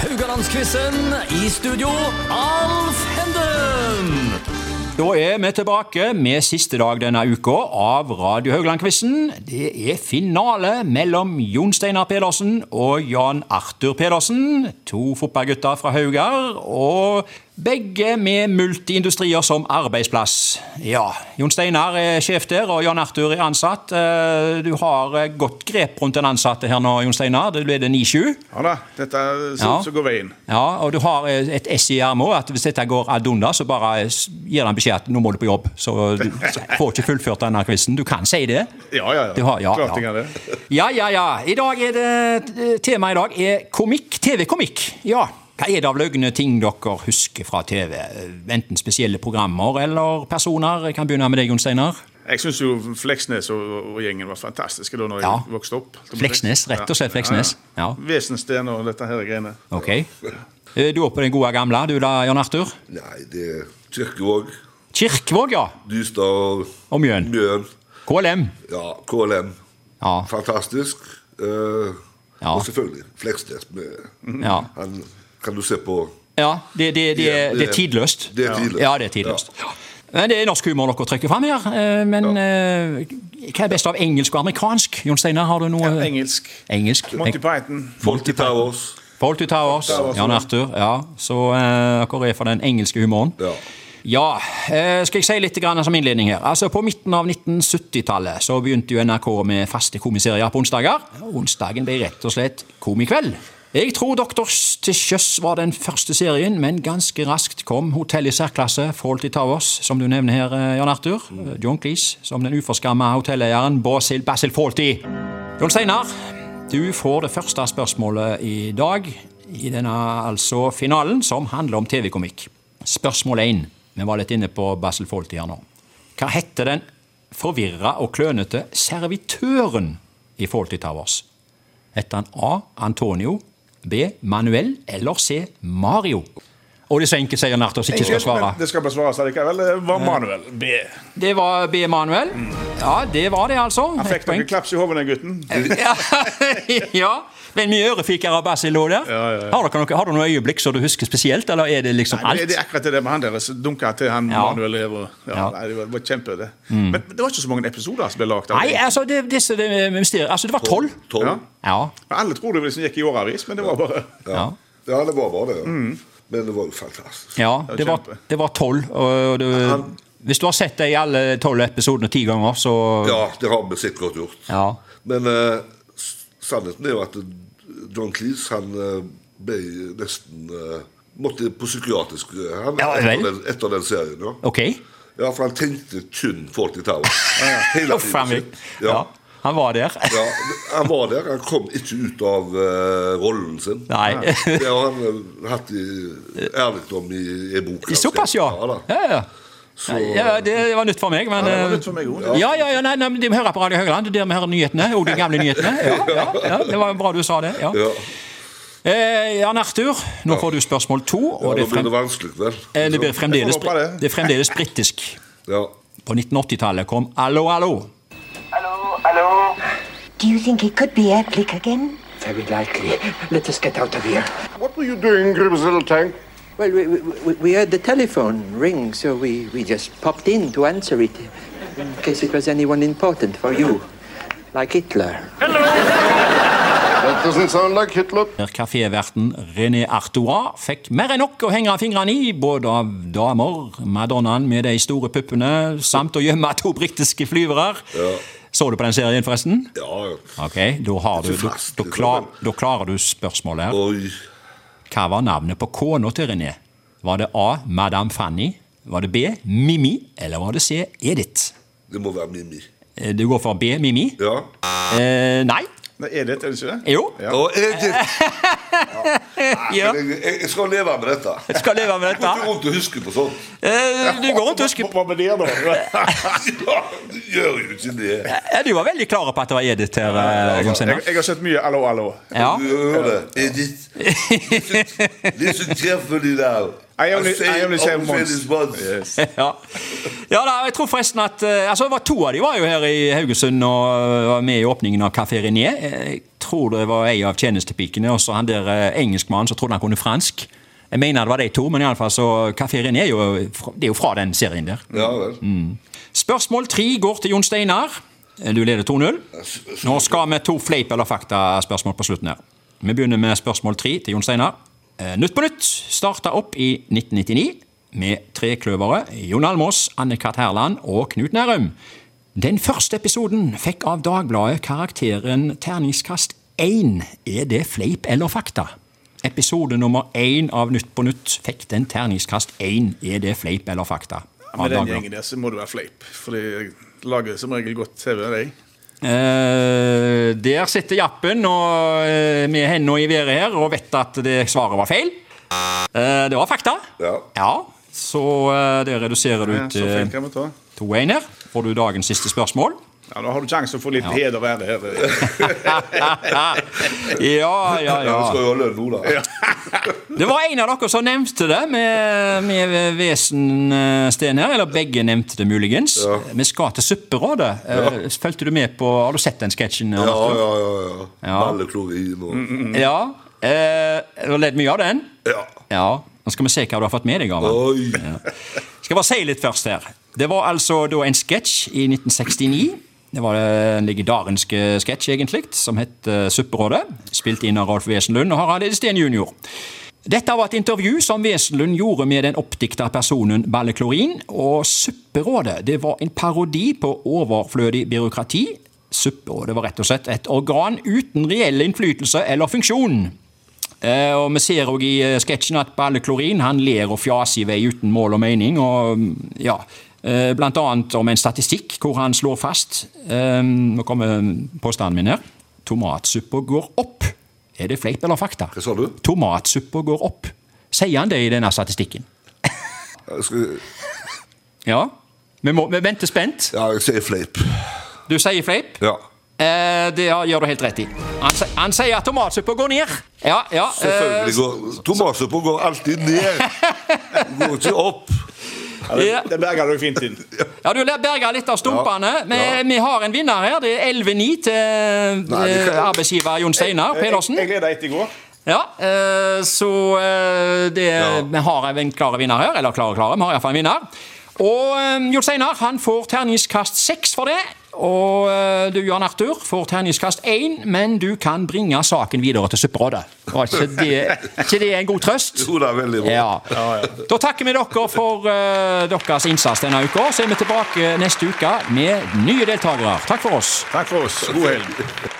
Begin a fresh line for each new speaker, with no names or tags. Haugalandsquizen. I studio, Alf Henden.
Da er vi tilbake med siste dag denne uka av Radio Haugland-quizen. Det er finale mellom Jon Steinar Pedersen og Jan Arthur Pedersen. To fotballgutter fra Haugar, og begge med multiindustrier som arbeidsplass. Ja, Jon Steinar er sjef der, og Jan Arthur er ansatt. Eh, Du har eh, godt grep rundt den ansatte her nå, Jon Steinar. Det blir det 9-7.
Ja da, dette ser ut
Ja.
som går veien.
Ja, og du har eh, et S i ermet òg, at hvis dette går ad undas, så bare eh, s- gir han beskjed at nå må du på jobb. Så du s- får ikke fullført denne quizen. Du kan si det.
Ja, ja, ja.
Du har, ja,
Klart jeg
ja.
kan det.
ja, ja, ja. I dag er det Temaet i dag er komikk. TV-komikk. Ja. Hva er det av løgne ting dere husker fra TV? Eh, Enten spesielle programmer eller personer? Jeg kan begynne med deg, Jon Steinar.
Jeg syns jo Fleksnes og, og gjengen var fantastiske da når jeg
Ja.
vokste opp.
Fleksnes, rett og slett Fleksnes. Ja.
Vesensten og dette her greiene.
Ok. Eh, Du er på den gode gamle, du da, Jan Arthur?
Nei, det er Kirkevåg,
Kirkvåg, ja.
Dystad
Og Mjøen.
Mjøen.
KLM.
Ja, KLM.
Ja.
Fantastisk. Eh,
Ja.
Og selvfølgelig Fleksnes. med-
Ja.
Han kan du se på.
Ja, det, det, det,
Ja,
er-
det-
det er tidløst.
det er tidløst.
Ja, det er tidløst. Ja. Men Det er norsk humor dere trekker fram her. eh, Men eh, hva er best av engelsk og amerikansk? Jon Steinar, har du noe
Engelsk.
Engelsk.
Monty Python.
Monty Towers.
Fawlty Towers.
Towers,
Jan
ja.
Arthur. Ja, så eh, dere er for den engelske humoren.
Ja.
Ja, eh, skal jeg si litt grann som innledning her. Altså, På midten av 1970-tallet så begynte jo NRK med faste komiserier på onsdager. Onsdagen ble rett og slett Komikveld. Jeg tror Doktors til sjøs var den første serien, men ganske raskt kom Hotell i særklasse, Fawlty Towers, som du nevner her, eh, Jan Arthur. John Cleese som den uforskamma hotelleieren Basil Basil Fawlty. Jon Steinar, du får det første spørsmålet i dag i denne altså finalen, som handler om TV-komikk. Spørsmål 1. Vi var litt inne på Basil Fawlty her nå. Hva heter den forvirra og klønete servitøren i Fawlty Towers? Heter han A. Antonio, B. Manuel eller C. Mario? Og det er så enkelt, sier Nartos, ikke skal svare.
Men Det skal besvares allikevel. Det Var Manuel B.
Det var B. Manuel. Ja, det var det, altså.
Han
Ett
fikk
poeng.
noen klaps i hodet, den gutten.
ja. ja. Men mye ørefiker av Basil lå der. Har, dere noe, har du noen øyeblikk som du husker spesielt, eller er det liksom
Nei,
alt?
Det er akkurat det der med han der som dunka til han
Ja.
Manuel her. Og, ja,
Ja. Mm.
Nei, det var, det var kjempe, det. Men det var ikke så mange episoder som ble lagd.
Nei, altså, det, disse- det, mysteriet Altså, det var tolv.
Tolv.
Ja.
Ja.
Ja.
Alle tror det liksom gikk i årevis, men det var bare
Ja.
det var bra, det. Ja. Men det var jo fantastisk.
ja det, var,
kjempe.
det var tolv. Og det, hvis du har sett det i alle tolv episodene ti ganger, så
Ja, det har vi sikkert godt gjort.
Ja.
Men eh, s- sannheten er jo at John Cleese han eh, ble nesten eh, Måtte på psykiatrisk eh, han,
Ja, vel.
etter, den, etter den serien. Ja.
OK?
Ja, for han tenkte kun Fawlty Towers. Hele
Uff, han,
tiden.
ja.
Ja.
han var der.
ja, Han var der. Han kom ikke ut av eh, rollen sin.
Nei.
Det har han eh, hatt i, ærlig om i en bok. han
Såpass,
skrev.
ja.
da.
ja, ja. Nei, ja, det var nytt for meg. Men,
Ja, det var
eh,
nytt for meg også, det.
ja, ja, ja, nei, nei, men De hører på Radio Høgland, det er der vi hører nyhetene. Og de gamle nyhetene. Ja, ja, ja, det var bra du sa det. ja.
Ja.
Eh, Jan Arthur, nå får du spørsmål to.
Ja,
Og det, er
da blir
frem,
det vanskelig, vel?
eh, det, blir fremdeles,
Jeg får håpe det.
det er fremdeles britisk.
Ja.
På 1980-tallet kom Allo, allo.
Hello, hello.
Do you think it could be Ed Blick again?
Very likely. Let us get out of here.
What were you doing, Grim's little tank?
Well, we, we, we- we heard the telephone ring, so we, we just popped in to answer it. In case it was anyone important for you. Like Hitler.
That doesn't sound like Hitler.
Der kaféverten René Artois fikk mer enn nok å henge fingrene i, både av damer, madonnaen med de store puppene, samt å gjemme to britiske flyvere. Så du på den serien, forresten?
ja.
Ok, da, har du, da, da, klar,
sånn.
da klarer du spørsmålet her.
Oi.
Hva var navnet på kona til René? Var det A. Madame Fanny? Var det B. Mimi? Eller var det C. Edith?
Det må være Mimmi.
Eh, Du går for B. Mimi?
Ja.
Eh, nei.
Nei, Er det er det ikke det?
Jo.
Ja.
Og Edith!
Ja.
Jeg, jeg- jeg skal leve med dette.
Jeg skal leve med
Jeg går ikke
dette.
rundt og husker på sånt.
Eh, du går rundt og husker
Hva med det, da?
ja, du gjør jo ikke det.
Eh, Du var veldig klar på at det var Edith her. eh, Jon
Jeg,
Steinar.
jeg har sett mye 'allo, allo'.
Ja.
Du hører det. Edith. sånn Listen carefully now.
I only- I only say once.
this once.
sånn Ja. ja da, jeg tror forresten at eh, altså, det var To av de var jo her i Haugesund og eh, var med i åpningen av Café René. Eh, Jeg tror det var ei av tjenestepikene, og så han der eh, engelskmannen som trodde han kunne fransk. Jeg mener det var de to, men iallfall så Café René er jo, fra- det er jo fra den serien der.
Ja vel.
Mm. Spørsmål tre går til Jon Steinar. Eh, Du leder 2-0. Nå skal vi to fleip- eller fakta-spørsmål på slutten her. Vi begynner med spørsmål tre til Jon Steinar. Eh, Nytt på nytt starta opp i 1999 med tre kløvere Jon Almås, Anne-Kat. Herland og Knut Nærum. Den første episoden fikk av Dagbladet karakteren terningskast 1. Er det fleip eller fakta? Episode nummer én av Nytt på nytt fikk den terningskast 1. Er det fleip eller fakta?
Ja, med
Av
den
Dagbladet.
gjengen der så må det være fleip. For de lager som regel godt TV. De.
Eh, der sitter Jappen og, eh, med henda i været her og vet at det svaret var feil. Eh, det var fakta.
Ja.
Så eh, det reduserer du
Ja, så
til
fint kan vi ta.
2-1 her. Får du dagens siste spørsmål?
Ja, Nå har du sjansen å få litt heder og ære her.
ja, ja,
Ja, vi
ja.
skal jo ha lønn nå, da.
Det var en av dere som nevnte det med, med vesensten her. Eller begge nevnte det muligens. Vi skal til Supperådet. Eh, Fulgte du med på Har du sett den sketsjen?
Ja,
Arthur?
ja, ja. ja. Balleklorin
Mm,
og
Ja. Eh, du har ledd mye av den?
Ja.
Ja, nå skal vi se hva du har fått med deg av den.
Oi.
Skal bare si litt først her. Det var altså da en sketsj i 1969. Det var en legendarisk eh, sketsj, egentlig, som het eh, Supperådet. Spilt inn av Rolf Wesenlund og Harald Edesteen jr. Dette var et intervju som Wesenlund gjorde med den oppdikta personen Balleklorin. Og Supperådet det var en parodi på overflødig byråkrati. Supperådet var rett og slett et organ uten reell innflytelse eller funksjon. Eh, og Vi ser òg i eh, sketsjen at Balleklorin han ler og fjaser i vei uten mål og mening. og mm, ja, eh, Blant annet om en statistikk hvor han slår fast eh, Nå kommer påstanden min her. Tomatsuppa går opp. Er det fleip eller fakta?
Hva sa du?
Tomatsuppa går opp. Sier han det i denne statistikken?
Jeg skal-
Ja. Vi, må, vi venter spent.
Ja, jeg sier fleip.
Du sier fleip.
Ja.
Eh, det har- gjør du helt rett i. Han, si- han sier at tomatsuppa går ned. Ja, ja.
Selvfølgelig går Tomatsuppe går alltid ned. Går ikke opp.
Ja, det,
Ja.
det berga du fint inn.
Ja, du har berga litt av stumpene.
Ja,
Men
ja.
vi har en vinner her. Det er 11-9 til
Nei, det
eh,
kan-
arbeidsgiver Jon Steinar Pedersen.
Jeg, jeg leda ett i går.
Ja, eh, så eh, det,
Ja.
vi har en klar vinner her. Eller klare, klare. Vi har iallfall en vinner. Og eh, Jon Steinar han får terningskast seks for det. Og eh, du, Jan Arthur, får terningskast én, men du kan bringe saken videre til Supperådet. Var ikke det, ikke det en god trøst?
Jo, det er veldig bra.
Ja. Da takker vi dere for eh, deres innsats denne uka. Så er vi tilbake neste uke med nye deltakere. Takk for oss.
Takk for oss. God helg.